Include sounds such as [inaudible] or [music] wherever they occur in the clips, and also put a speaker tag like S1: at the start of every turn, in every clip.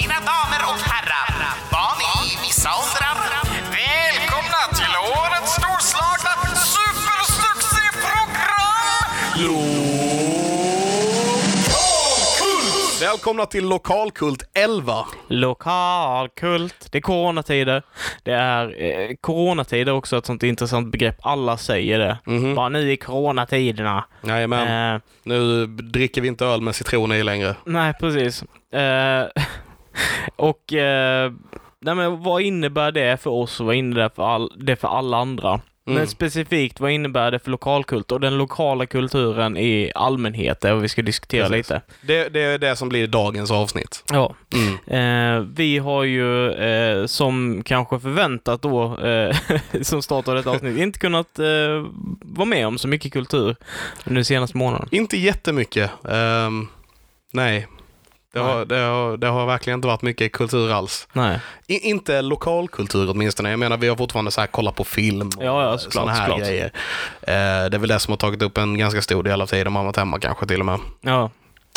S1: Mina damer och herrar, barn i vissa åldrar. Välkomna till årets storslagna supersuccéprogram!
S2: Välkomna till Lokalkult 11.
S3: Lokalkult. Det är coronatider. Det är eh, coronatider också, ett sånt intressant begrepp. Alla säger det. Bara nu i coronatiderna.
S2: Mhm. Jajamän.
S3: Eh,
S2: Nu dricker vi inte öl med citron i längre.
S3: nej, precis. Eh, [laughs] och eh, nej, men vad innebär det för oss och vad innebär det för, all, det för alla andra?
S2: Mm.
S3: Men specifikt, vad innebär det för lokalkult och den lokala kulturen i allmänhet? Det är vad vi ska diskutera
S2: Precis.
S3: lite.
S2: Det, det är det som blir dagens avsnitt.
S3: Ja.
S2: Mm.
S3: Eh, vi har ju, eh, som kanske förväntat då, eh, [laughs] som startade detta avsnitt, inte kunnat eh, vara med om så mycket kultur under den senaste månaden.
S2: Inte jättemycket. Ehm, nej. Det har, det, har, det har verkligen inte varit mycket kultur alls.
S3: Nej.
S2: I, inte lokalkultur åtminstone. Jag menar, vi har fortfarande så här, kolla på film och
S3: Ja, ja, såklart,
S2: såna här
S3: såklart.
S2: grejer. Eh, det är väl det som har tagit upp en ganska stor del av tiden man varit hemma kanske till och med.
S3: Ja.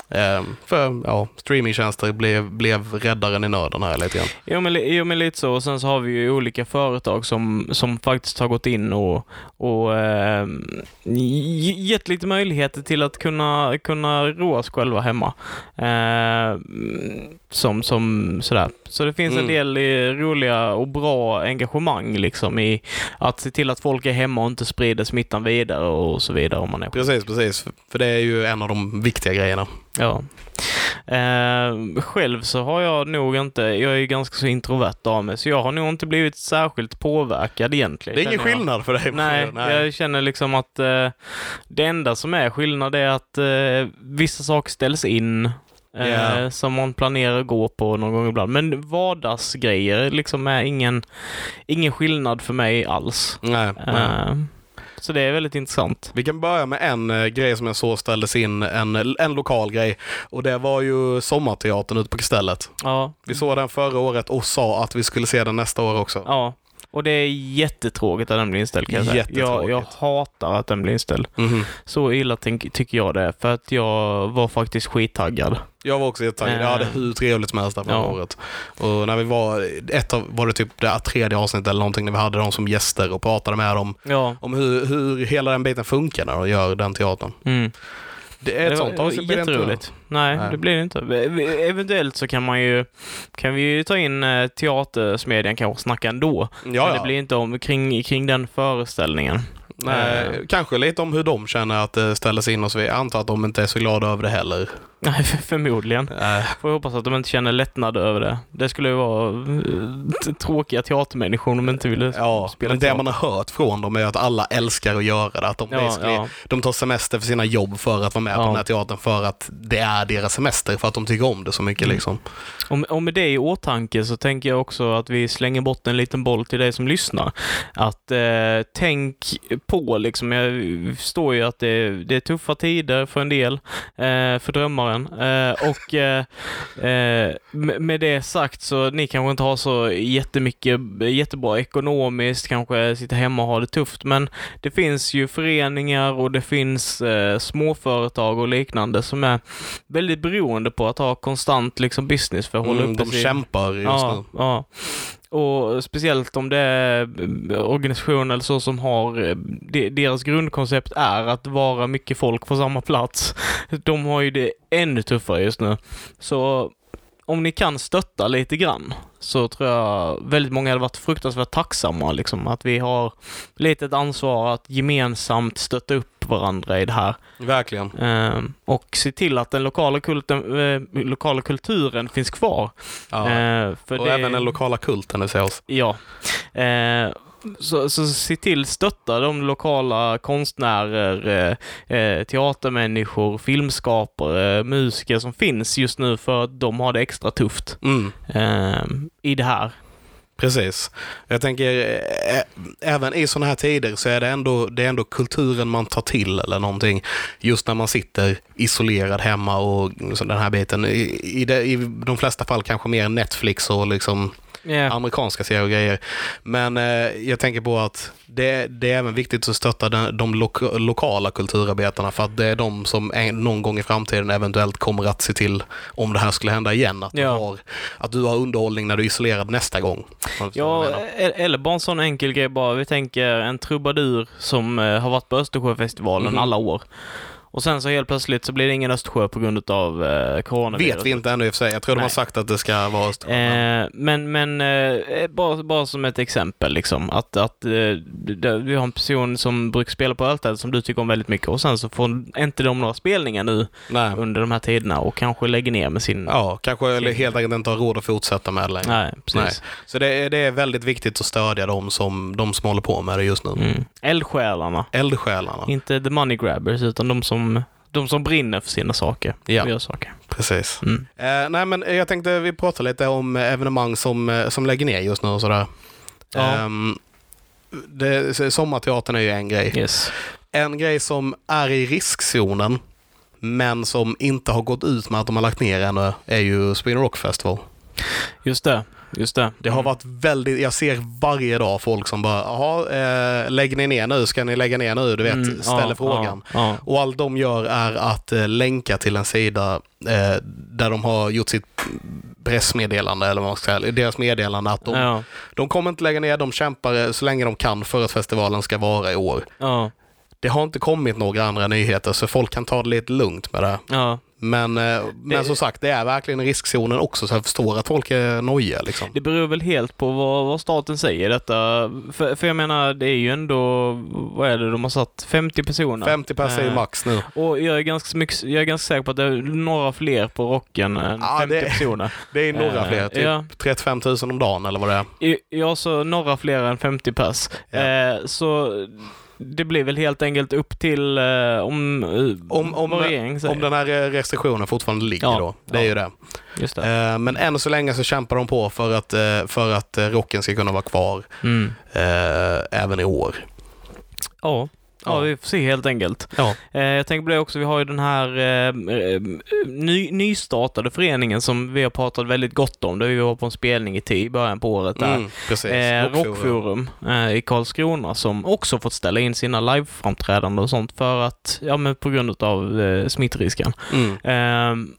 S2: Ehm, för ja, streamingtjänster blev, blev räddaren i nöden här lite grann.
S3: Jo men, li- jo men lite så. Och sen så har vi ju olika företag som, som faktiskt har gått in och, och eh, ge- gett lite möjligheter till att kunna, kunna roa sig själva hemma. Eh, som, som sådär. Så det finns en
S2: Mm.
S3: del eh, roliga och bra engagemang liksom i att se till att folk är hemma och inte sprider smittan vidare och så vidare om man är på
S2: Precis, precis. För det är ju en av de viktiga grejerna.
S3: Ja. Eh, själv så har jag nog inte, jag är ju ganska så introvert av mig, så jag har nog inte blivit särskilt påverkad egentligen.
S2: Det är ingen
S3: känner jag.
S2: skillnad för dig.
S3: Nej, jag känner liksom att eh, det enda som är skillnad är att eh, vissa saker ställs in eh,
S2: Ja.
S3: som man planerar att gå på någon gång ibland. Men vardagsgrejer liksom är ingen, ingen skillnad för mig alls.
S2: Nej, nej.
S3: Eh, så det är väldigt intressant.
S2: Vi kan börja med en eh, grej som jag så ställdes in, en, en lokal grej. Och det var ju Sommarteatern ute på Kastellet.
S3: Ja,
S2: Vi såg den förra året och sa att vi skulle se den nästa år också.
S3: Ja, och det är jättetråkigt att den blir inställd kan jag säga. Jag, jag
S2: Jättetråkigt.
S3: hatar att den blir inställd.
S2: Mhm.
S3: Så illa tänk, tycker jag det är, för att jag var faktiskt skittaggad.
S2: Jag var också jättetaggad. Jag hade
S3: Eh.
S2: hur trevligt som helst där förra
S3: Ja.
S2: året. Och när vi var, ett av, var det typ det här tredje avsnittet eller någonting, när vi hade dem som gäster och pratade med dem
S3: Ja.
S2: om hur, hur hela den biten funkar när de gör den teatern.
S3: Mm.
S2: Det är ett
S3: det
S2: sånt
S3: var
S2: avsnitt. blir det inte-
S3: jätteroligt. Nej,
S2: Nej.
S3: det blir det inte. Vi- vi- Eventuellt så kan man ju, kan vi ju ta in eh, teatersmedjan kanske och snacka ändå.
S2: Ja,
S3: Men
S2: ja.
S3: det blir inte om, kring, kring den föreställningen. [laughs]
S2: Nej, Eh, kanske lite om hur de känner att det ställs in och så vidare. Jag antar att de inte är så glada över det heller.
S3: Nej, för- förmodligen. [laughs]
S2: Eh,
S3: Får jag hoppas att de inte känner lättnad över det. Det skulle ju vara eh, t- tråkiga teatermänniskor om de inte ville
S2: ja,
S3: spela
S2: men det
S3: teater.
S2: man har hört från dem är att alla älskar att göra det. Att de,
S3: Ja,
S2: basically-
S3: ja,
S2: de tar semester för sina jobb för att vara med på
S3: Ja.
S2: den här teatern för att det är deras semester, för att de tycker om det så
S3: Mm.
S2: mycket. Liksom.
S3: Och med- Och med det i åtanke så tänker jag också att vi slänger bort en liten boll till dig som lyssnar. Att eh, tänk på liksom, jag förstår ju att det, det är tuffa tider för en del, eh, för drömmaren. Eh, och eh, eh, med med det sagt så ni kanske inte har så jättemycket, jättebra ekonomiskt, kanske sitter hemma och har det tufft, men det finns ju föreningar och det finns eh, småföretag och liknande som är väldigt beroende på att ha konstant liksom, business för att hålla
S2: Mm,
S3: uppe
S2: de
S3: sin-
S2: kämpar just
S3: ja,
S2: nu.
S3: ja. Och speciellt om det är eh, organisationer eller så som har, eh, de, deras grundkoncept är att vara mycket folk på samma plats. [laughs] De har ju det ännu tuffare just nu. Så om ni kan stötta lite grann så tror jag väldigt många hade varit fruktansvärt tacksamma liksom att vi har lite ett ansvar att gemensamt stötta upp varandra i det här.
S2: Verkligen.
S3: Ehm, och se till att den lokala, kulten, eh, lokala kulturen finns kvar.
S2: Ja.
S3: Eh, för
S2: och
S3: det-
S2: även den lokala kulten hos oss.
S3: Ja. Eh, så, så se till stötta de lokala konstnärer, eh, eh, teatermänniskor, filmskapare, musiker som finns just nu för att de har det extra tufft
S2: Mm.
S3: eh, i det här.
S2: Precis. Jag tänker, eh, även i sådana här tider så är det ändå, det är ändå kulturen man tar till eller någonting. Just när man sitter isolerad hemma och så den här biten. I, i, det, i de flesta fall kanske mer Netflix och liksom
S3: Ja.
S2: amerikanska serier och grejer. Men eh, jag tänker på att det, det är även viktigt att stötta den, de lo- lokala kulturarbetarna för att det är de som en, någon gång i framtiden eventuellt kommer att se till, om det här skulle hända igen, att,
S3: Ja.
S2: du, har, att du har underhållning när du är isolerad nästa gång. Om du förstår vad
S3: Ja,
S2: jag menar.
S3: e- eller bara en sån enkel grej bara. Vi tänker en trubadur som eh, har varit på Östersjöfestivalen
S2: Mhm.
S3: alla år. Och sen så helt plötsligt så blir det ingen Östersjö på grund av eh, coronavirus.
S2: Vet vi inte ännu i och för sig. Jag tror de har
S3: Nej.
S2: sagt att det ska vara Östersjön.
S3: Eh, men men eh, bara, bara som ett exempel liksom. Att, att eh, det- vi har en person som brukar spela på Öltad som du tycker om väldigt mycket och sen så får inte de några spelningar nu
S2: Nej.
S3: under de här tiderna och kanske lägger ner med sin...
S2: Ja, kanske eller helt enkelt inte har råd att fortsätta med det längre.
S3: Nej, precis.
S2: Så det är, det är väldigt viktigt att stödja de som, de som håller på med det just nu.
S3: Mm. Eldsjälarna.
S2: Eldsjälarna.
S3: Inte the money grabbers, utan de som, de som brinner för sina saker.
S2: Ja.
S3: Och gör saker.
S2: Precis.
S3: Mm.
S2: Eh, nej, men jag tänkte vi pratar lite om eh, evenemang som, eh, som lägger ner just nu och sådär.
S3: Ja.
S2: Ehm, det, så- sommarteatern är ju en grej.
S3: Yes.
S2: En grej som är i riskzonen, men som inte har gått ut med att de har lagt ner ännu, är ju Spring Rock Festival.
S3: Just det. Just det.
S2: Det har varit väldigt, jag ser varje dag folk som bara, jaha, eh, lägger ni ner nu? Ska ni lägga ner nu? Du vet,
S3: Mm,
S2: ställer
S3: ja,
S2: frågan.
S3: Ja,
S2: Och allt de gör är att eh, länka till en sida eh, där de har gjort sitt pressmeddelande, eller vad man ska säga, deras meddelande att de,
S3: ja. ja.
S2: de kommer inte lägga ner, de kämpar eh, så länge de kan för att festivalen ska vara i år.
S3: ja.
S2: Det har inte kommit några andra nyheter så folk kan ta det lite lugnt med det.
S3: ja.
S2: Men, eh, men
S3: Det-
S2: som sagt, det är verkligen i riskzonen också så jag förstår att folk är nojiga. Liksom.
S3: Det beror väl helt på vad, vad staten säger i detta. För, för jag menar, det är ju ändå, vad är det de har satt? 50 personer?
S2: 50 pers är ju
S3: Eh,
S2: max nu.
S3: Och jag är, ganska mycket, jag är ganska säker på att det är några fler på rocken än
S2: Ja,
S3: 50
S2: det-
S3: personer.
S2: Det är några
S3: eh,
S2: fler, typ
S3: ja.
S2: 35 000 om dagen eller vad det är.
S3: I- Ja, så några fler än 50 pers.
S2: Ja.
S3: Eh, så det blir väl helt enkelt upp till eh, om, eh,
S2: Om, om,
S3: vad regeringen säger.
S2: om den här eh, restriktionen fortfarande ligger
S3: Ja,
S2: då. Det är
S3: ja.
S2: ju det.
S3: Just det.
S2: Eh, Men än så länge så kämpar de på för att, eh, för att eh, rocken ska kunna vara kvar
S3: Mm.
S2: eh, även i år.
S3: Ja.
S2: Ja.
S3: Ja, vi får se helt enkelt.
S2: Ja.
S3: Eh, jag tänker på det också, vi har ju den här eh, eh, ny, nystartade föreningen som vi har pratat väldigt gott om. Där vi var på en spelning i, ti- i början på året. Där.
S2: Mm, precis.
S3: Eh,
S2: Rockforum.
S3: Rockforum eh, i Karlskrona som också fått ställa in sina liveframträdanden och sånt för att, ja men på grund av eh, smittrisken.
S2: Mm.
S3: Ehm,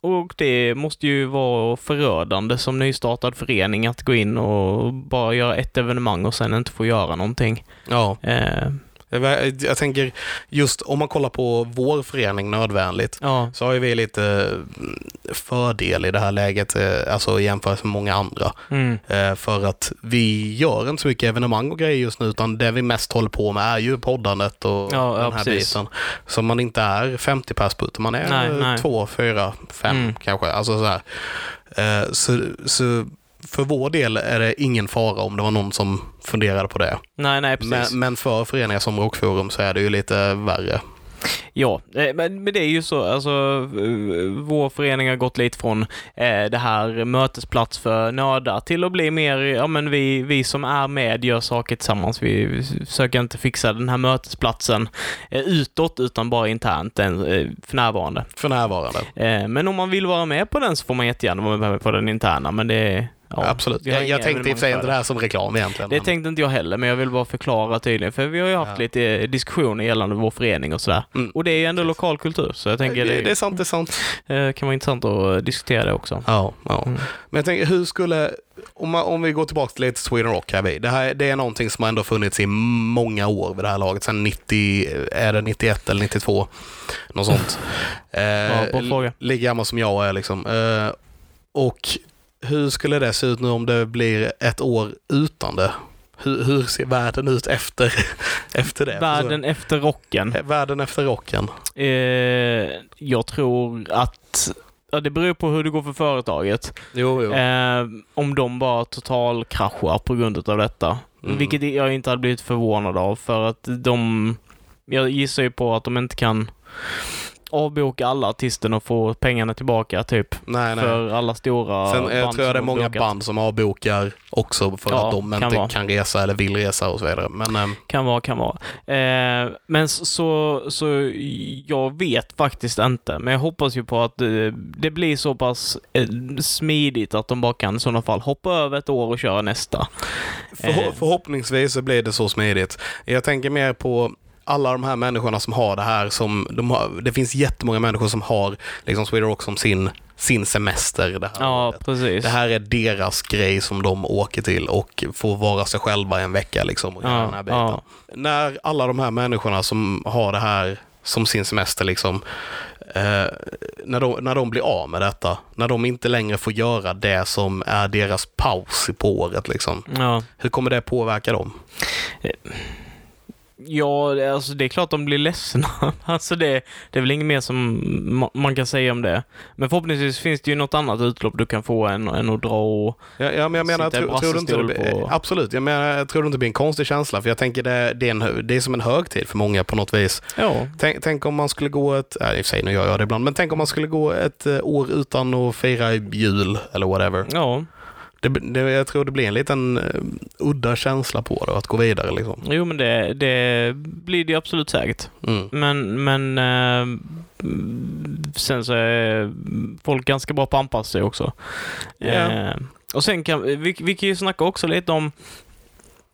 S3: och det måste ju vara förödande som nystartad förening att gå in och bara göra ett evenemang och sen inte få göra någonting.
S2: Ja,
S3: Ehm,
S2: jag, ver- jag tänker just om man kollar på vår förening Nödvändigt
S3: ja,
S2: så har ju vi lite eh, fördel i det här läget, eh, alltså i jämförelse med många andra.
S3: mm,
S2: Eh, För att vi gör inte så mycket evenemang och grejer just nu, utan det vi mest håller på med är ju poddandet och
S3: Ja, ja,
S2: den här
S3: precis.
S2: biten. Så man inte är 50 pers på, utan man är
S3: Nej,
S2: eh,
S3: nej.
S2: två, fyra, fem
S3: Mm.
S2: kanske. Alltså så, här. Eh, så, så för vår del är det ingen fara om det var någon som funderade på det.
S3: nej, nej, precis.
S2: Men, men för föreningar som Rockforum så är det ju lite värre.
S3: Ja, eh, men, men det är ju så. Alltså, eh, vår förening har gått lite från eh, det här mötesplats för nördar till att bli mer, ja men vi, vi som är med gör saker tillsammans. Vi vi försöker inte fixa den här mötesplatsen eh, utåt utan bara internt eh, för närvarande.
S2: För närvarande.
S3: Eh, men om man vill vara med på den så får man jättegärna vara med på den interna, men det är... ja,
S2: Absolut.
S3: vi har
S2: Jag,
S3: inga
S2: jag tänkte i och för sig inte det här som reklam egentligen.
S3: det
S2: men-
S3: tänkte inte jag heller, men jag vill bara förklara tydligen. För vi har ju haft
S2: Ja.
S3: lite eh, diskussioner gällande vår förening och sådär.
S2: Mm.
S3: Och det är ju ändå lokal kultur, så jag tänker
S2: det, det är sant, det är sant.
S3: Eh, kan vara intressant att eh, diskutera det också.
S2: Ja, ja.
S3: Mm.
S2: men jag tänker hur skulle, om, man, om vi går tillbaka till lite Sweden Rock här vi. Det, här, det är någonting som har ändå funnits i många år vid det här laget, sedan 90, är det 91 eller 92? Något sånt. eh,
S3: [laughs] Ja, bra fråga.
S2: Lika gammal som jag är liksom. Eh, och hur skulle det se ut nu om det blir ett år utan det? Hur, hur ser världen ut efter, [laughs] efter det?
S3: Världen efter rocken.
S2: Eh, Världen efter rocken.
S3: Eh, jag tror att Ja, det beror på hur det går för företaget.
S2: Jo, jo.
S3: Eh, om de bara totalkraschar på grund av detta.
S2: Mm.
S3: Vilket jag inte hade blivit förvånad av för att de... Jag gissar ju på att de inte kan avboka alla artisterna och få pengarna tillbaka typ.
S2: Nej, nej.
S3: för alla stora
S2: Sen jag
S3: band
S2: tror jag det är
S3: som
S2: många
S3: avbokat.
S2: band som avbokar också för
S3: Ja,
S2: att de
S3: kan
S2: inte
S3: vara.
S2: kan resa eller vill resa och så vidare. Men ehm,
S3: Kan vara, kan vara. Eh, men s- så, så jag vet faktiskt inte. Men jag hoppas ju på att eh, det blir så pass eh, smidigt att de bara kan i sådana fall hoppa över ett år och köra nästa.
S2: Förho-
S3: Eh.
S2: förhoppningsvis så blir det så smidigt. Jag tänker mer på alla de här människorna som har det här som, de har, det finns jättemånga människor som har liksom Sweden Rock som sin, sin semester det här
S3: Ja,
S2: året.
S3: precis.
S2: Det här är deras grej som de åker till och får vara sig själva en vecka liksom och göra den här
S3: ja,
S2: biten.
S3: ja,
S2: När alla de här människorna som har det här som sin semester liksom, eh, när, de, när de blir av med detta, när de inte längre får göra det som är deras paus på året liksom.
S3: ja.
S2: Hur kommer det påverka dem?
S3: Ja, det- alltså det är klart de blir ledsna. [laughs] Alltså det, det är väl inget mer som ma- man kan säga om det. Men förhoppningsvis finns det ju något annat utlopp du kan få än, än att dra och...
S2: Ja, ja, men jag menar,
S3: Sitta i
S2: tror, tror du inte det,
S3: brassestol
S2: blir-
S3: på-
S2: absolut, jag menar, jag tror det inte blir en konstig känsla, för jag tänker det, det, är, en, hö- det är som en högtid för många på något vis.
S3: Ja,
S2: Tänk, tänk om man skulle gå ett, nej, i och för sig nu gör jag det ibland, men tänk om man skulle gå ett eh, år utan att fira jul eller whatever.
S3: ja.
S2: Det, det, jag tror det blir en liten eh, udda känsla på det, att gå vidare liksom.
S3: Jo, men det, det blir det ju absolut säkert.
S2: Mm.
S3: Men, men eh, sen så är folk ganska bra på att anpassa sig också.
S2: Ja.
S3: Eh, och sen kan vi, vi kan ju snacka också lite om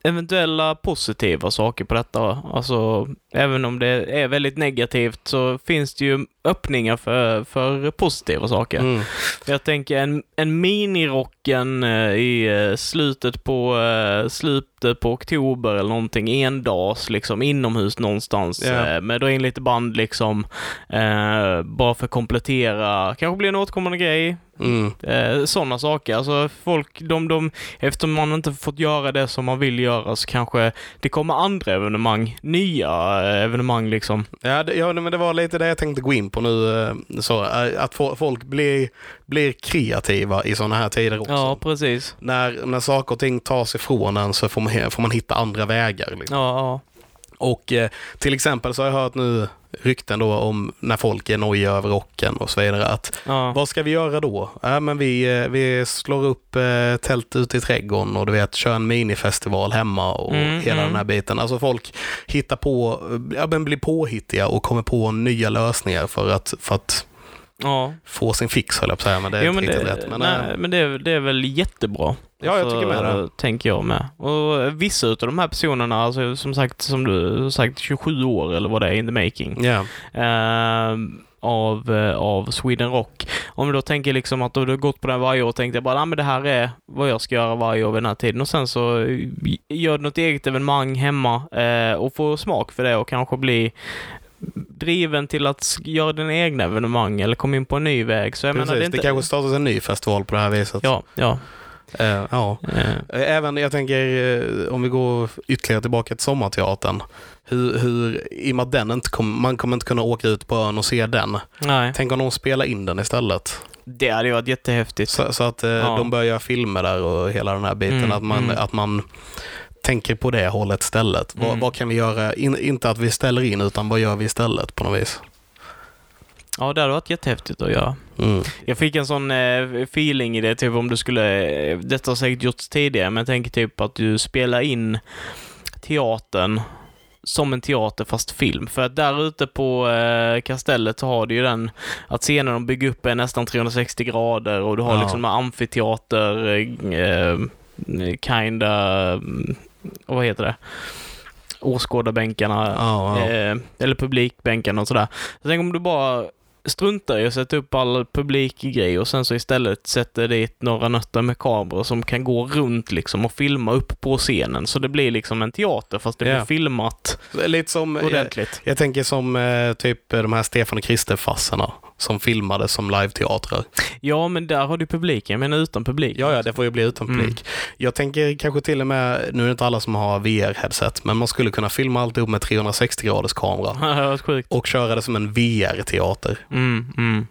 S3: eventuella positiva saker på detta. Alltså, även om det är väldigt negativt så finns det ju öppningar för, för positiva saker.
S2: Mm.
S3: Jag tänker en, en minirocken eh, i eh, slutet på, eh, slutet på oktober eller någonting, en dags liksom inomhus någonstans.
S2: Ja.
S3: eh, Med dra in lite band liksom, eh, bara för att komplettera. Kanske blir en återkommande grej.
S2: Mm.
S3: Eh, Sådana saker. Alltså folk, de, de, eftersom man inte fått göra det som man vill göra så kanske det kommer andra evenemang, nya eh, evenemang liksom.
S2: Ja, det, ja, men det var lite det jag tänkte gå in på nu. eh, Så, eh, att få- folk blir, blir kreativa i sådana här tider också.
S3: Ja, precis.
S2: När, när saker och ting tas ifrån en så får man, he- får man hitta andra vägar. Liksom.
S3: Ja, ja.
S2: Och eh, till exempel så har jag hört nu rykten då om när folk är nojiga över rocken och så vidare. Att,
S3: ja.
S2: Vad ska vi göra då? Ja, men vi, eh, vi slår upp eh, tält ute i trädgården och du vet, kör en minifestival hemma och
S3: Mm,
S2: hela
S3: mm.
S2: den här biten. Alltså folk hittar på, eh, ja, men blir påhittiga och kommer på nya lösningar för att, för att
S3: ja.
S2: få sin fix, höll jag på att säga. Men det är
S3: Jo,
S2: inte
S3: men
S2: riktigt
S3: det,
S2: rätt. Men, eh,
S3: nej, men det, är, det är väl jättebra.
S2: Ja, jag tycker med det.
S3: Tänker jag med. Och eh, vissa utav de här personerna, alltså, som sagt, som du har sagt, 27 år eller vad det är in the making,
S2: ja.
S3: ehm, av, eh, av Sweden Rock. Om du då tänker liksom att du har gått på den varje år och tänkt bara, "Ah, men det här är vad jag ska göra varje år vid den här tiden och sen så eh, gör du något eget evenemang hemma eh, och får smak för det och kanske bli driven till att sk- göra din egna evenemang eller komma in på en ny väg. Så jag
S2: Precis,
S3: menar,
S2: det,
S3: är inte...
S2: kanske startas en ny festival på det här viset.
S3: Ja, ja.
S2: Eh, ja.
S3: Eh,
S2: Även, jag tänker, eh, om vi går ytterligare tillbaka till sommarteatern. Hur, hur, I och med att den inte kom, man kommer inte kunna åka ut på ön och se den.
S3: nej,
S2: Tänk om de spelar in den istället.
S3: det hade ju varit jättehäftigt.
S2: Så, så att eh,
S3: Ja.
S2: de börjar göra filmer där och hela den här biten.
S3: Mm,
S2: att, man,
S3: mm.
S2: att man tänker på det hållet istället. Vad,
S3: Mm.
S2: vad kan vi göra? In, inte att vi ställer in, utan vad gör vi istället på något vis?
S3: Ja, det hade varit jättehäftigt att göra.
S2: Mm.
S3: Jag fick en sån eh, feeling i det, typ om du skulle... eh, Detta har säkert gjorts tidigare, men jag tänker typ att du spelar in teatern som en teater fast film. För att där ute på eh, kastellet så har du ju den att scenen de bygger upp är nästan 360 grader och du har
S2: Ja.
S3: liksom de här amfiteater, eh, eh, kinda, mm, vad heter det? Åskådarbänkarna.
S2: Ja, ja.
S3: Eh, eller publikbänken och sådär. Så tänk om du bara struntar i att sätta upp all publikgrej och sen så istället sätter dit några nötter med kameror som kan gå runt liksom och filma upp på scenen. Så det blir liksom en teater fast det
S2: Ja.
S3: blir filmat
S2: Lite som, jag,
S3: ordentligt.
S2: jag tänker som eh, typ de här Stefan och Krister-fassarna som filmades som live-teatrar.
S3: Ja, men där har du publiken, men utan publik.
S2: Ja, ja, det får ju bli utan
S3: Mm.
S2: publik. Jag tänker kanske till och med, nu är det inte alla som har VR-headset, men man skulle kunna filma alltihop med 360 graders kamera
S3: [laughs] Det hade varit sjukt.
S2: och köra det som en VR-teater.
S3: Mm, mm.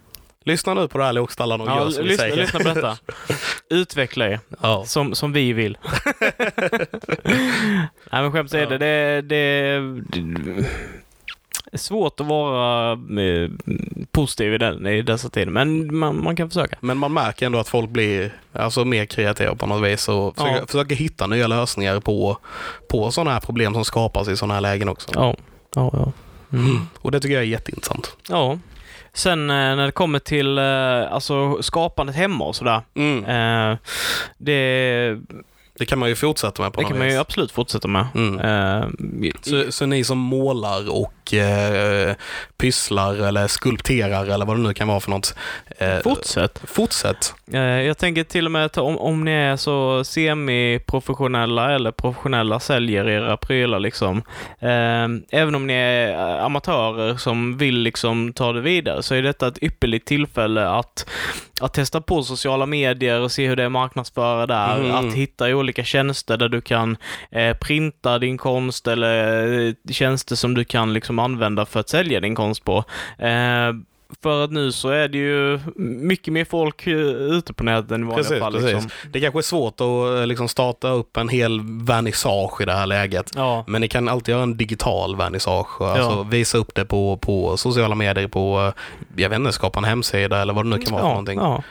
S2: Lyssna nu på det här Lokstallan och
S3: Ja,
S2: gör som vi
S3: lyssna,
S2: säger.
S3: lyssna på detta. Utveckla er.
S2: [laughs] Ja.
S3: Som, som
S2: [laughs]
S3: vi vill. Nej men skämt är det, det, det, det Det är svårt att vara eh, positiv i, den, i dessa tider, men man, man kan försöka.
S2: Men man märker ändå att folk blir alltså, mer kreativa på något vis och försöker,
S3: Ja.
S2: försöker hitta nya lösningar på, på sådana här problem som skapas i sådana här lägen också.
S3: Ja, Mm. ja, ja.
S2: Och det tycker jag är jätteintressant.
S3: ja. Sen eh, när det kommer till eh, alltså, skapandet hemma och sådär. Eh, det
S2: Det kan man ju fortsätta med på
S3: det
S2: något
S3: kan man ju
S2: vis.
S3: absolut fortsätta med.
S2: Mm.
S3: Eh,
S2: Så, så ni som målar och eh, pysslar eller skulpterar eller vad det nu kan vara för något. Eh,
S3: fortsätt.
S2: fortsätt.
S3: Eh, Jag tänker till och med att om, om ni är så semi-professionella eller professionella säljer era prylar liksom. Eh, även om ni är eh, amatörer som vill liksom ta det vidare så är detta ett ypperligt tillfälle att, att testa på sociala medier och se hur det är att marknadsföra där.
S2: Mm.
S3: Att hitta i olika tjänster där du kan eh, printa din konst eller eh, tjänster som du kan liksom använda för att sälja din konst på. Eh, för att nu så är det ju mycket mer folk eh, ute på nätet än i vanliga
S2: Precis,
S3: fall.
S2: precis.
S3: Liksom.
S2: Det kanske är svårt att eh, liksom, starta upp en hel vernissage i det här läget.
S3: Ja,
S2: Men ni kan alltid göra en digital vernissage. Alltså
S3: Ja.
S2: visa upp det på, på sociala medier, på, eh, jag vet inte, skapa en hemsida eller vad det nu kan vara för
S3: ja,
S2: någonting.
S3: ja.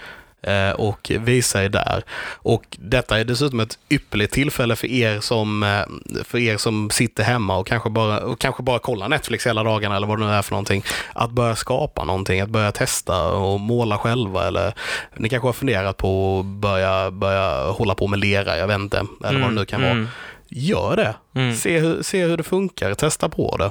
S2: eh, och visa er där. Och detta är dessutom ett ypperligt tillfälle för er som, eh, för er som sitter hemma och kanske, bara, och kanske bara kollar Netflix hela dagarna eller vad det nu är för någonting. Att börja skapa någonting, att börja testa och måla själva. Eller, ni kanske har funderat på att börja, börja hålla på med lera, jag vet inte, eller vad
S3: Mm,
S2: det nu kan vara. Gör det. Se, hur, se hur det funkar, testa på det.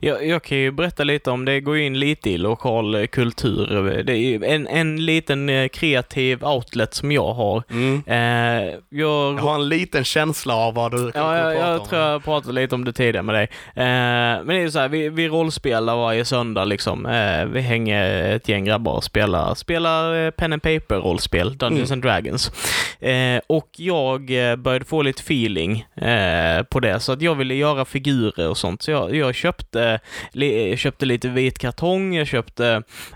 S3: Jag, jag kan ju berätta lite om det, går ju in lite i lokal eh, kultur. Det är ju en, en liten eh, kreativ outlet som jag har.
S2: Mm.
S3: Eh, jag
S2: Jag har en liten känsla av vad du
S3: Ja, jag, jag
S2: om.
S3: tror jag pratade lite om det tidigare med dig. Eh, men det är ju så här, vi, vi rollspelar varje söndag liksom. Eh, vi hänger ett gäng grabbar och spelar, spelar eh, pen and paper-rollspel, Dungeons and Dragons. Eh, och jag eh, började få lite feeling eh, på det, så att jag ville göra figurer och sånt. Så jag, jag köpte, li, köpte lite vit kartong, jag köpte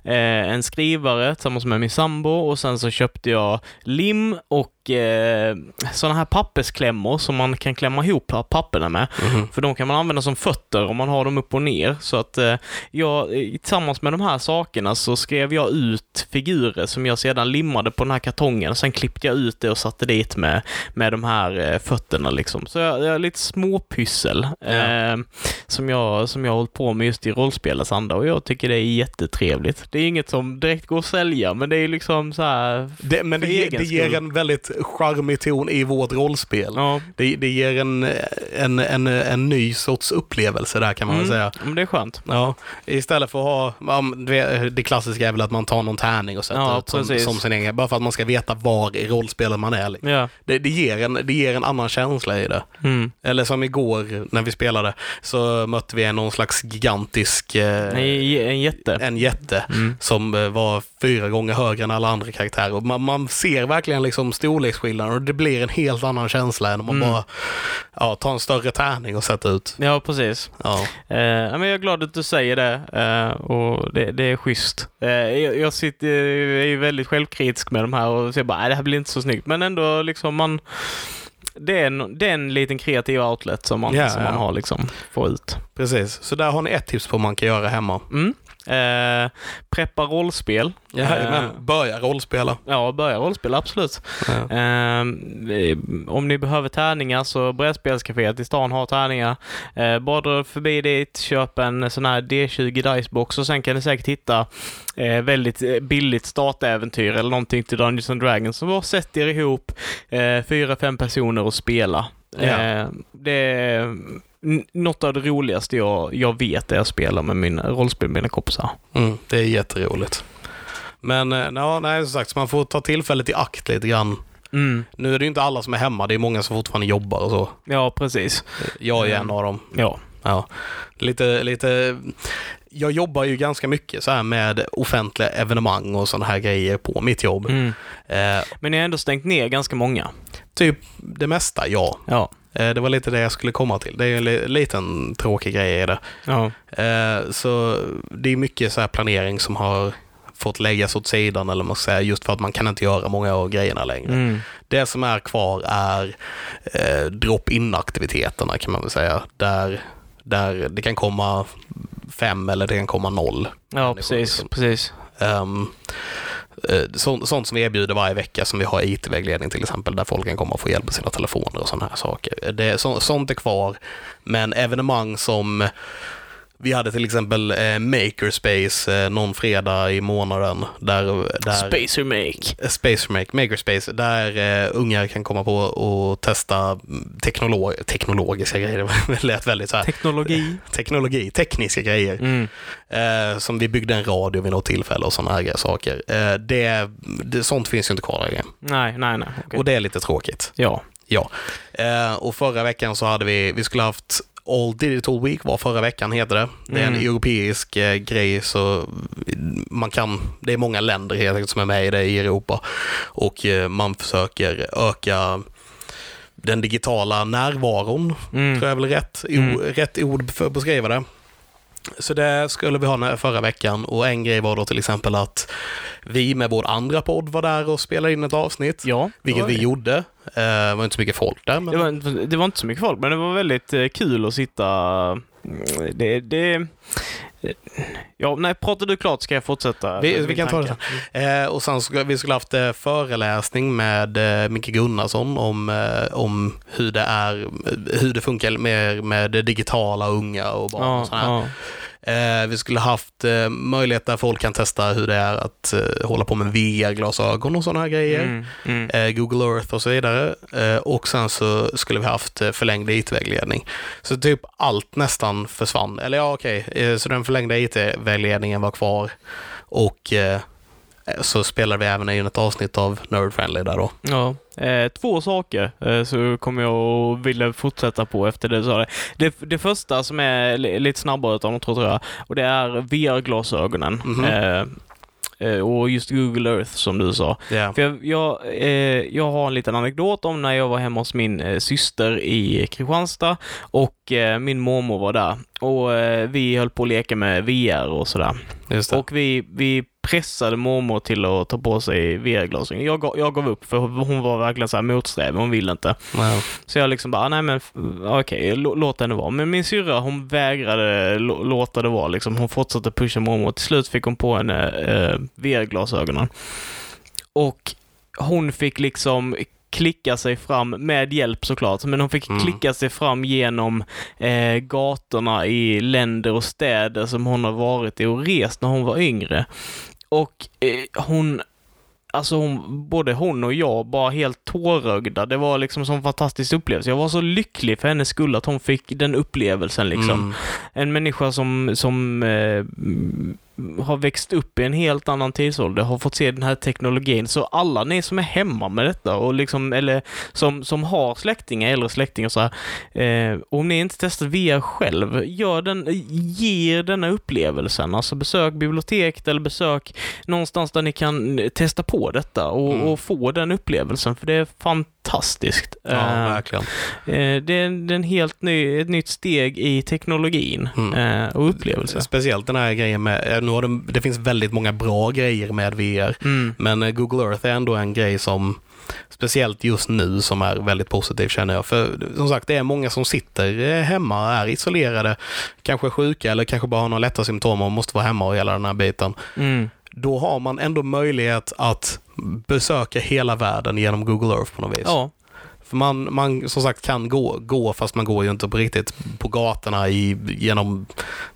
S3: eh, en skrivare tillsammans med min sambo och sen så köpte jag lim och eh, sådana här pappersklämmor som man kan klämma ihop papperna med.
S2: Mhm.
S3: För de kan man använda som fötter om man har dem upp och ner. Så att eh, jag, eh, tillsammans med de här sakerna så skrev jag ut figurer som jag sedan limmade på den här kartongen. Sen klippte jag ut det och satte dit med, med de här eh, fötterna liksom. Så jag, jag har lite småpyssel eh, som, jag, som jag har hållit på med just i rollspelets anda och jag tycker det är jättetrevligt. Det är inget som direkt går att sälja, men det är liksom så här...
S2: Det, men det,
S3: För
S2: ge-
S3: egen
S2: det ger
S3: skull.
S2: en väldigt charmig ton i vårt rollspel.
S3: Ja,
S2: Det, det ger en, en, en, en ny sorts upplevelse där kan man väl säga.
S3: mm, men det är skönt.
S2: Ja, istället för att ha, ja, men det- det klassiska är väl att man tar någon tärning och sätter
S3: Ja,
S2: ut som,
S3: precis.
S2: som sin egen, bara för att man ska veta var i rollspelet man är. liksom.
S3: Ja.
S2: Det, det, ger en, det ger en annan känsla i det.
S3: Mm.
S2: Eller som igår när vi spelade så mötte vi någon slags gigantisk eh,
S3: Nej, En jätte. Mm.
S2: en jätte som eh, var fyra gånger högre än alla andra karaktärer. Och man, man ser verkligen liksom storleksskillnaden och det blir en helt annan känsla än om man bara ja, tar en större tärning och sätter ut.
S3: Ja, precis.
S2: Ja.
S3: Eh, ja, men jag är glad att du säger det eh, och det, det är schysst. Eh, jag, jag sitter, jag är ju väldigt självkritisk med de här och säger bara "Nej, det här blir inte så snyggt. Men ändå liksom man... Det är en, det är en liten kreativ outlet som man,
S2: Ja,
S3: som man
S2: ja.
S3: har liksom, får ut.
S2: Precis, så där har ni ett tips på vad man kan göra hemma.
S3: Mm. Eh, preppa rollspel. Eh,
S2: Jajamän. Börja rollspela. Eh,
S3: Ja, börja rollspel, absolut.
S2: Ja.
S3: Ehm, eh, om ni behöver tärningar så brädspelscaféet i stan har tärningar. Eh, bara dra förbi dit, köp en sån här D20 Dicebox och sen kan ni säkert hitta eh, väldigt eh, billigt startäventyr eller någonting till Dungeons and Dragons. Så bara sätt er ihop, eh, fyra, fem personer och spela.
S2: Ja.
S3: Eh, det är n- något av det roligaste jag, jag vet är att spela med mina rollspel med mina kompisar.
S2: Mm, det är jätteroligt. Men eh, ja, nej, som sagt, så man får ta tillfället i akt lite grann. Nu är det ju inte alla som är hemma, det är många som fortfarande jobbar och så.
S3: Ja, precis.
S2: Jag är
S3: Mm.
S2: en av dem.
S3: Ja.
S2: Ja, lite, lite... Jag jobbar ju ganska mycket så här med offentliga evenemang och sådana här grejer på mitt jobb.
S3: Mm.
S2: Eh,
S3: Men ni har ändå stängt ner ganska många.
S2: typ det mesta, ja.
S3: Ja.
S2: Eh, det var lite det jag skulle komma till. Det är ju en li- liten tråkig grej i det.
S3: ja.
S2: Eh, så det är mycket så här planering som har fått läggas åt sidan eller vad man ska säga, just för att man kan inte göra många av grejerna längre. Det som är kvar är eh, drop-in-aktiviteterna kan man väl säga, där, där det kan komma 5 eller till 1,0.
S3: Ja,
S2: människor,
S3: precis.
S2: liksom.
S3: precis.
S2: Ehm, eh, så, sånt som vi erbjuder varje vecka som vi har i IT-vägledning till exempel där folk kan komma och få hjälp med sina telefoner och sådana här saker. Det, så, sånt är kvar, men evenemang som vi hade till exempel eh, Makerspace eh, någon fredag i månaden där, där
S3: Spacer Make.
S2: Space Remake, Makerspace, där eh, ungar kan komma på och testa teknolo- teknologiska grejer. [laughs] Det lät väldigt så här.
S3: Teknologi.
S2: teknologi, tekniska grejer.
S3: Mm.
S2: Eh, som vi byggde en radio vid något tillfälle och sådana här grejer- saker. Eh, det, det, sånt finns ju inte kvar längre.
S3: [laughs] Nej, nej, nej. okej.
S2: Och det är lite tråkigt.
S3: Ja.
S2: Ja. Eh, och förra veckan så hade vi, vi skulle haft All Digital Week var förra veckan heter det. Det är en
S3: Mm.
S2: europeisk eh, grej så man kan, det är många länder helt enkelt som är med i det i Europa och eh, man försöker öka den digitala närvaron,
S3: Mm.
S2: tror jag väl är rätt, o-
S3: Mm.
S2: rätt ord för att beskriva det. Så det skulle vi ha nä- förra veckan och en grej var då till exempel att vi med vår andra podd var där och spelade in ett avsnitt.
S3: ja.
S2: Vilket
S3: det var
S2: vi
S3: det.
S2: gjorde. Eh, Det var inte så mycket folk där.
S3: Det
S2: Men...
S3: var, inte- det var inte så mycket folk, men det var väldigt eh, kul att sitta... Mm, Det... det eh, ja, nej, pratar du klart ska jag fortsätta.
S2: Vi-
S3: med
S2: vi
S3: min
S2: kan ta det
S3: tanke.
S2: Eh, Och sen skulle, vi skulle haft eh, föreläsning med eh, Micke Gunnarsson om, eh, om hur det är, eh, hur det funkar med, med det digitala och unga och barn
S3: Ja,
S2: och sådär.
S3: ja.
S2: Eh, Vi skulle haft eh, möjlighet där folk kan testa hur det är att eh, hålla på med VR-glasögon och sådana här grejer.
S3: Mm, mm.
S2: eh, Google Earth och så vidare. Eh, Och sen så skulle vi haft eh, förlängd IT-vägledning. Så typ allt nästan försvann. Eller ja, okej, eh, så den förlängda IT-vägledningen var kvar och eh, så spelade vi även in ett avsnitt av Nerd Friendly där då.
S3: Ja, eh, två saker eh, så kommer jag att vilja fortsätta på efter det du sa. Det. Det, det första som är li, lite snabbare utav de två tror jag, och det är VR-glasögonen.
S2: Mhm.
S3: eh, eh, och just Google Earth som du sa. För jag, jag, eh, jag har en liten anekdot om när jag var hemma hos min eh, syster i Kristianstad och eh, min mormor var där. Och eh, vi höll på att leka med VR och sådär.
S2: Just det.
S3: Och vi, vi pressade mormor till att ta på sig VR-glasögon. Jag, gav- jag gav upp för hon var verkligen så här motsträvig, hon ville inte.
S2: Ja.
S3: Så jag liksom bara, nej men f- okej, lå- låt henne vara. Men min syrra hon vägrade lå- låta det vara liksom. Hon fortsatte pusha mormor. Till slut fick hon på henne eh, VR-glasögonen. Och hon fick liksom klicka sig fram, med hjälp såklart, men hon fick
S2: Mm.
S3: klicka sig fram genom eh, gatorna i länder och städer som hon har varit i och rest när hon var yngre. Och eh, hon Alltså hon, både hon och jag bara helt tårögda. Det var liksom en sån fantastisk upplevelse. Jag var så lycklig för hennes skull att hon fick den upplevelsen liksom.
S2: Mm.
S3: En människa som, som eh, m- har växt upp i en helt annan tidsålder har fått se den här teknologin. Så alla ni som är hemma med detta och liksom, eller som, som har släktingar, äldre släktingar så här, eh, om ni inte testat VR själv, gör den, ge er denna upplevelsen. Alltså besök biblioteket eller besök någonstans där ni kan testa på detta och,
S2: Mm.
S3: och få den upplevelsen, för det är fantastiskt.
S2: Ja,
S3: Eh,
S2: verkligen.
S3: Eh, Det är, en- det är en helt ny, ett nytt steg i teknologin
S2: Mm.
S3: eh, och upplevelsen.
S2: Speciellt den här grejen med, eh, nu har det, det finns väldigt många bra grejer med VR.
S3: Mm.
S2: Men eh, Google Earth är ändå en grej som, speciellt just nu, som är väldigt positiv känner jag. För som sagt, det är många som sitter eh, hemma, är isolerade, kanske sjuka eller kanske bara har några lätta symptom och måste vara hemma och hela den här biten.
S3: Mm.
S2: Då har man ändå möjlighet att besöka hela världen genom Google Earth på något vis.
S3: Ja.
S2: För man, man som sagt kan gå, gå, fast man går ju inte på riktigt på gatorna i, genom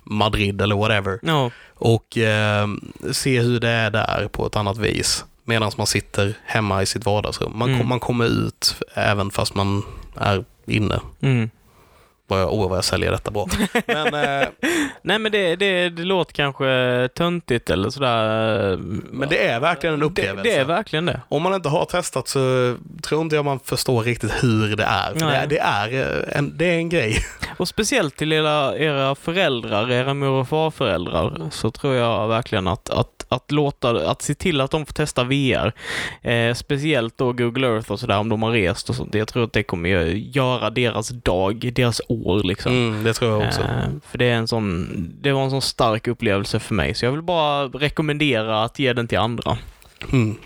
S2: Madrid eller whatever
S3: ja.
S2: och eh, se hur det är där på ett annat vis medan man sitter hemma i sitt vardagsrum. Man,
S3: Mm.
S2: kom, man kommer ut även fast man är inne.
S3: Mm.
S2: Vad jag, oh, vad jag säljer detta
S3: [laughs]
S2: bra. Men, eh,
S3: Nej men det, det, det låter kanske töntigt eller sådär.
S2: men det är verkligen en
S3: det,
S2: upplevelse.
S3: det är verkligen det.
S2: Om man inte har testat så tror inte jag man förstår riktigt hur det är. För det, är-
S3: Nej.
S2: det, är eh, en, det är en grej.
S3: Och speciellt till era, era föräldrar, era mor och farföräldrar, så tror jag verkligen att, att, att, låta, att se till att de får testa VR. Eh, speciellt då Google Earth och sådär, om de har rest och sånt. Jag tror att det kommer ju göra deras dag, deras år liksom.
S2: Mm, det tror jag också.
S3: Eh, för det, är en sån, det var en sån stark upplevelse för mig, så jag vill bara rekommendera att ge den till andra.
S2: Mm.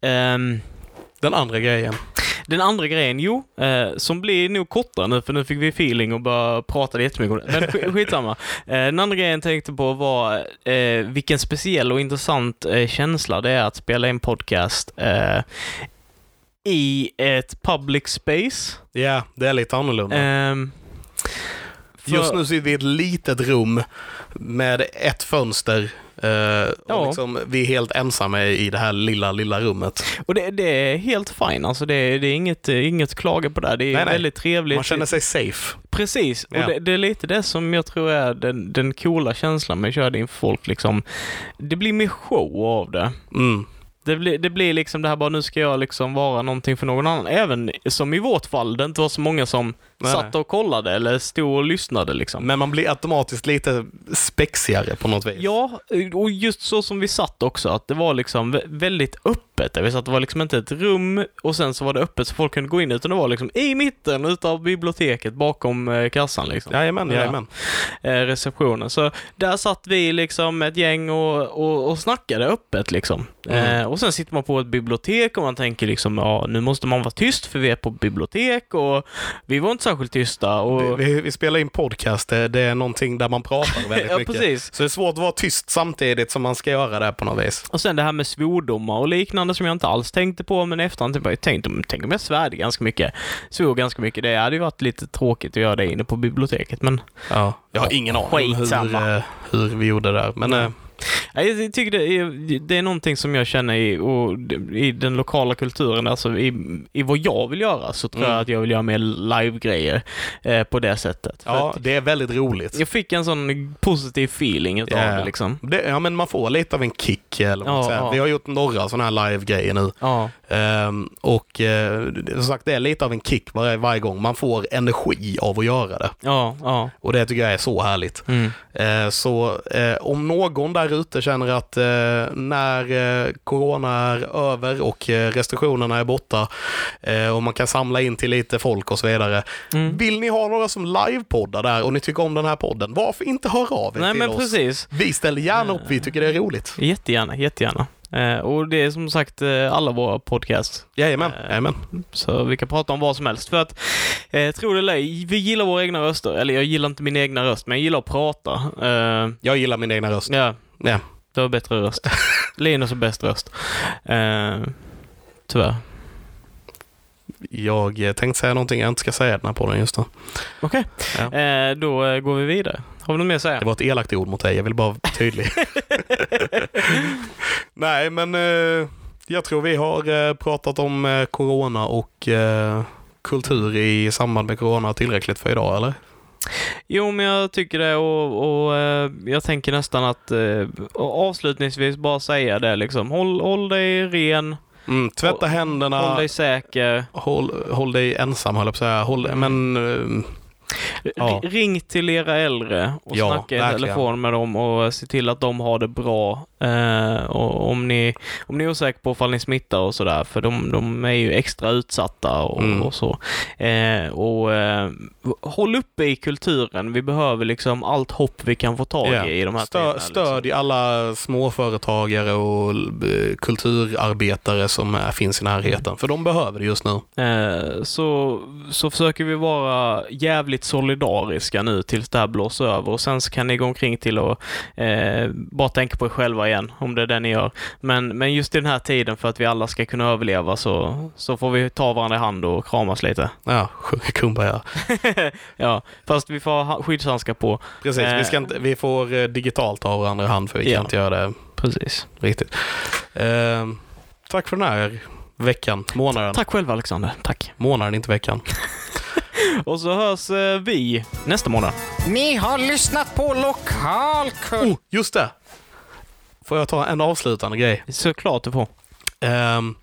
S3: Ehm,
S2: Den andra grejen.
S3: Den andra grejen, jo, eh, som blir nog kortare nu för nu fick vi feeling och bara pratade jättemycket om det. Men sk- skitsamma. Eh, den andra grejen jag tänkte på var eh, vilken speciell och intressant eh, känsla det är att spela in podcast eh, i ett public space.
S2: Ja, det är lite annorlunda.
S3: Ehm, för-
S2: Just nu sitter vi i ett litet rum med ett fönster. eh,
S3: Ja.
S2: och liksom, vi är helt ensamma i det här lilla, lilla rummet.
S3: Och det, det är helt fine, alltså det, är- det är inget, eh, inget klaga på det. här. Det är
S2: Nej, nej.
S3: väldigt trevligt.
S2: Man känner sig safe.
S3: Precis,
S2: Ja.
S3: och det, det är lite det som jag tror är den, den coola känslan med att köra det inför folk. Liksom. Det blir mer show av det.
S2: Mm.
S3: Det blir, det blir liksom det här bara, nu ska jag liksom vara någonting för någon annan. Även som i vårt fall, det inte var så många som
S2: Nej.
S3: satt och kollade eller stod och lyssnade. Liksom.
S2: Men man blir automatiskt lite spexigare på något vis.
S3: Ja, och just så som vi satt också, att det var liksom vä- väldigt öppet. Där vi satt, det var liksom inte ett rum och sen så var det öppet så folk kunde gå in, utan det var liksom i mitten utav biblioteket bakom eh, kassan. Liksom.
S2: Jajamän, jajamän.
S3: eh, receptionen. Så där satt vi liksom ett gäng och, och, och snackade öppet liksom.
S2: Mm.
S3: Eh, och sen sitter man på ett bibliotek och man tänker liksom, ja nu måste man vara tyst för vi är på bibliotek och vi var inte särskilt tysta. Och,
S2: Vi, vi, vi spelar in podcast, det, det är någonting där man pratar väldigt
S3: [laughs] ja,
S2: mycket.
S3: precis.
S2: Så det är svårt att vara tyst samtidigt som man ska göra det på något vis.
S3: Och sen det här med svordomar och liknande som jag inte alls tänkte på, men i efterhand typ, jag tänkte, men tänk om jag svärde ganska mycket, svor ganska mycket. Det hade ju varit lite tråkigt att göra det inne på biblioteket, men
S2: Ja. Jag har ingen aning om
S3: Skitsamma.
S2: hur, eh, hur vi gjorde där. Men eh,
S3: Ja, Jag tycker det är, det är någonting som jag känner i, och, i den lokala kulturen, alltså i, i vad jag vill göra så tror
S2: Mm.
S3: jag att jag vill göra mer live-grejer eh, på det sättet. För
S2: ja,
S3: att
S2: det är väldigt roligt.
S3: Jag fick en sån positiv feeling utav
S2: Ja.
S3: det liksom.
S2: Det, ja, men man får lite av en kick. Eller vad man
S3: Ja,
S2: säger.
S3: ja.
S2: Vi har gjort några sådana här live-grejer nu.
S3: Ja,
S2: Ehm, och eh, det- som sagt, det är lite av en kick varje, varje gång. Man får energi av att göra det.
S3: ja, ja.
S2: Och det tycker jag är så härligt.
S3: Mm.
S2: Eh, så eh, om någon där ute känner att eh, när eh, corona är över och eh, restriktionerna är borta eh, och man kan samla in till lite folk och så vidare.
S3: Mm.
S2: Vill ni ha några som livepoddar där och ni tycker om den här podden, varför inte höra av er
S3: Nej
S2: till
S3: men
S2: oss?
S3: precis.
S2: Vi ställer gärna upp, vi tycker det är roligt.
S3: Jättegärna, jättegärna. Eh, och det är som sagt eh, alla våra podcasts.
S2: Jajamän,
S3: Eh,
S2: jajamän.
S3: Så vi kan prata om vad som helst. För att, eh, tro det eller ej, vi gillar våra egna röster. Eller jag gillar inte min egna röst, men jag gillar att prata. Eh,
S2: Jag gillar min egna röst.
S3: ja,
S2: Ja.
S3: Du har bättre röst. Linus har bäst röst. Eh, tyvärr.
S2: Jag eh, tänkte säga någonting jag inte ska säga i den här podden just nu.
S3: Okej.
S2: Ja.
S3: Eh, då eh, går vi vidare. Har vi något mer att säga?
S2: Det var ett elakt ord mot dig, jag vill bara vara [laughs] tydlig. Nej, men eh, jag tror vi har eh, pratat om eh, corona och eh, kultur i samband med corona tillräckligt för idag, eller?
S3: Jo, men jag tycker det och, och eh, jag tänker nästan att eh, avslutningsvis bara säga det liksom. Håll, håll dig ren,
S2: Mm, tvätta
S3: Håll-
S2: händerna,
S3: håll
S2: håll dig,
S3: dig säker.
S2: håll, dig ensam höll jag på att säga. Håll, men eh, Ja.
S3: R- ring till era äldre och
S2: Ja,
S3: snacka i
S2: verkligen.
S3: telefon med dem och se till att de har det bra. Eh, och om, ni, om ni är osäkra på ifall ni smittar och sådär, för de, de är ju extra utsatta och,
S2: Mm.
S3: och så. Eh, och eh, håll uppe i kulturen. Vi behöver liksom allt hopp vi kan få tag
S2: Ja.
S3: i i de här liksom.
S2: Stö,
S3: tiderna.
S2: stödj alla småföretagare och eh, kulturarbetare som eh, finns i närheten, för de behöver det just nu.
S3: Eh, så, så försöker vi vara jävligt solidariska nu tills det här blåser över och sen så kan ni gå omkring till och eh, bara tänka på er själva igen, om det är det ni gör. Men, men just i den här tiden för att vi alla ska kunna överleva så, så får vi ta varandra i hand och kramas lite.
S2: Ja, sjunga kumbaya.
S3: ja, fast vi får ha ha- skyddshandskar på.
S2: Precis, vi, ska inte, vi får eh, digitalt ta varandra i hand för vi kan
S3: Ja.
S2: inte göra det
S3: Precis.
S2: riktigt. Eh, tack för den här veckan, månaden.
S3: Tack själv Alexander. Tack.
S2: Månaden, inte veckan.
S3: Och så hörs eh, vi nästa månad.
S1: Ni har lyssnat på Lokalkult.
S2: Oh, just det! Får jag ta en avslutande grej?
S3: Såklart du får.
S2: Ehm,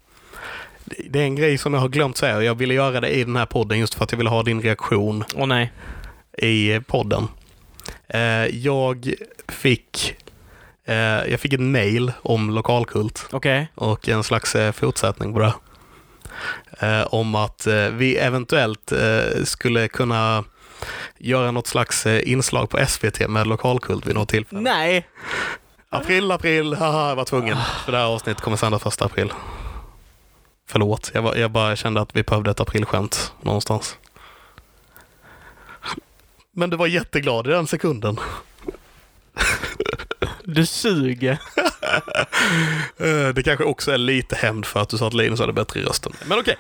S2: det- det är en grej som jag har glömt säga och jag ville göra det i den här podden just för att jag ville ha din reaktion
S3: Åh nej.
S2: i podden. Eh, jag fick eh, jag fick ett mail om lokalkult.
S3: Okej.
S2: och en slags eh, fortsättning på det. Eh, om att eh, vi eventuellt eh, skulle kunna göra något slags eh, inslag på SVT med lokalkult vid något tillfälle.
S3: Nej!
S2: Ah. April, april, haha, jag var tvungen. För det här avsnittet kommer sändas första april. Förlåt, jag, var- jag bara kände att vi behövde ett aprilskämt någonstans. Men du var jätteglad i den sekunden.
S3: Du suger.
S2: Eh, Det kanske också är lite hämnd för att du sa att Linus hade bättre i rösten. Men okej.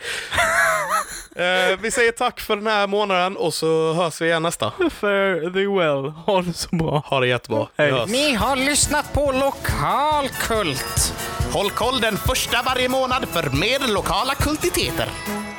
S2: Eh, Vi säger tack för den här månaden och så hörs vi igen nästa.
S3: Fare thee well. Ha det så bra.
S2: Ha det jättebra. Vi
S3: Hej.
S2: hörs.
S1: Ni har lyssnat på Lokalkult. Håll koll den första varje månad för mer lokala kultiteter.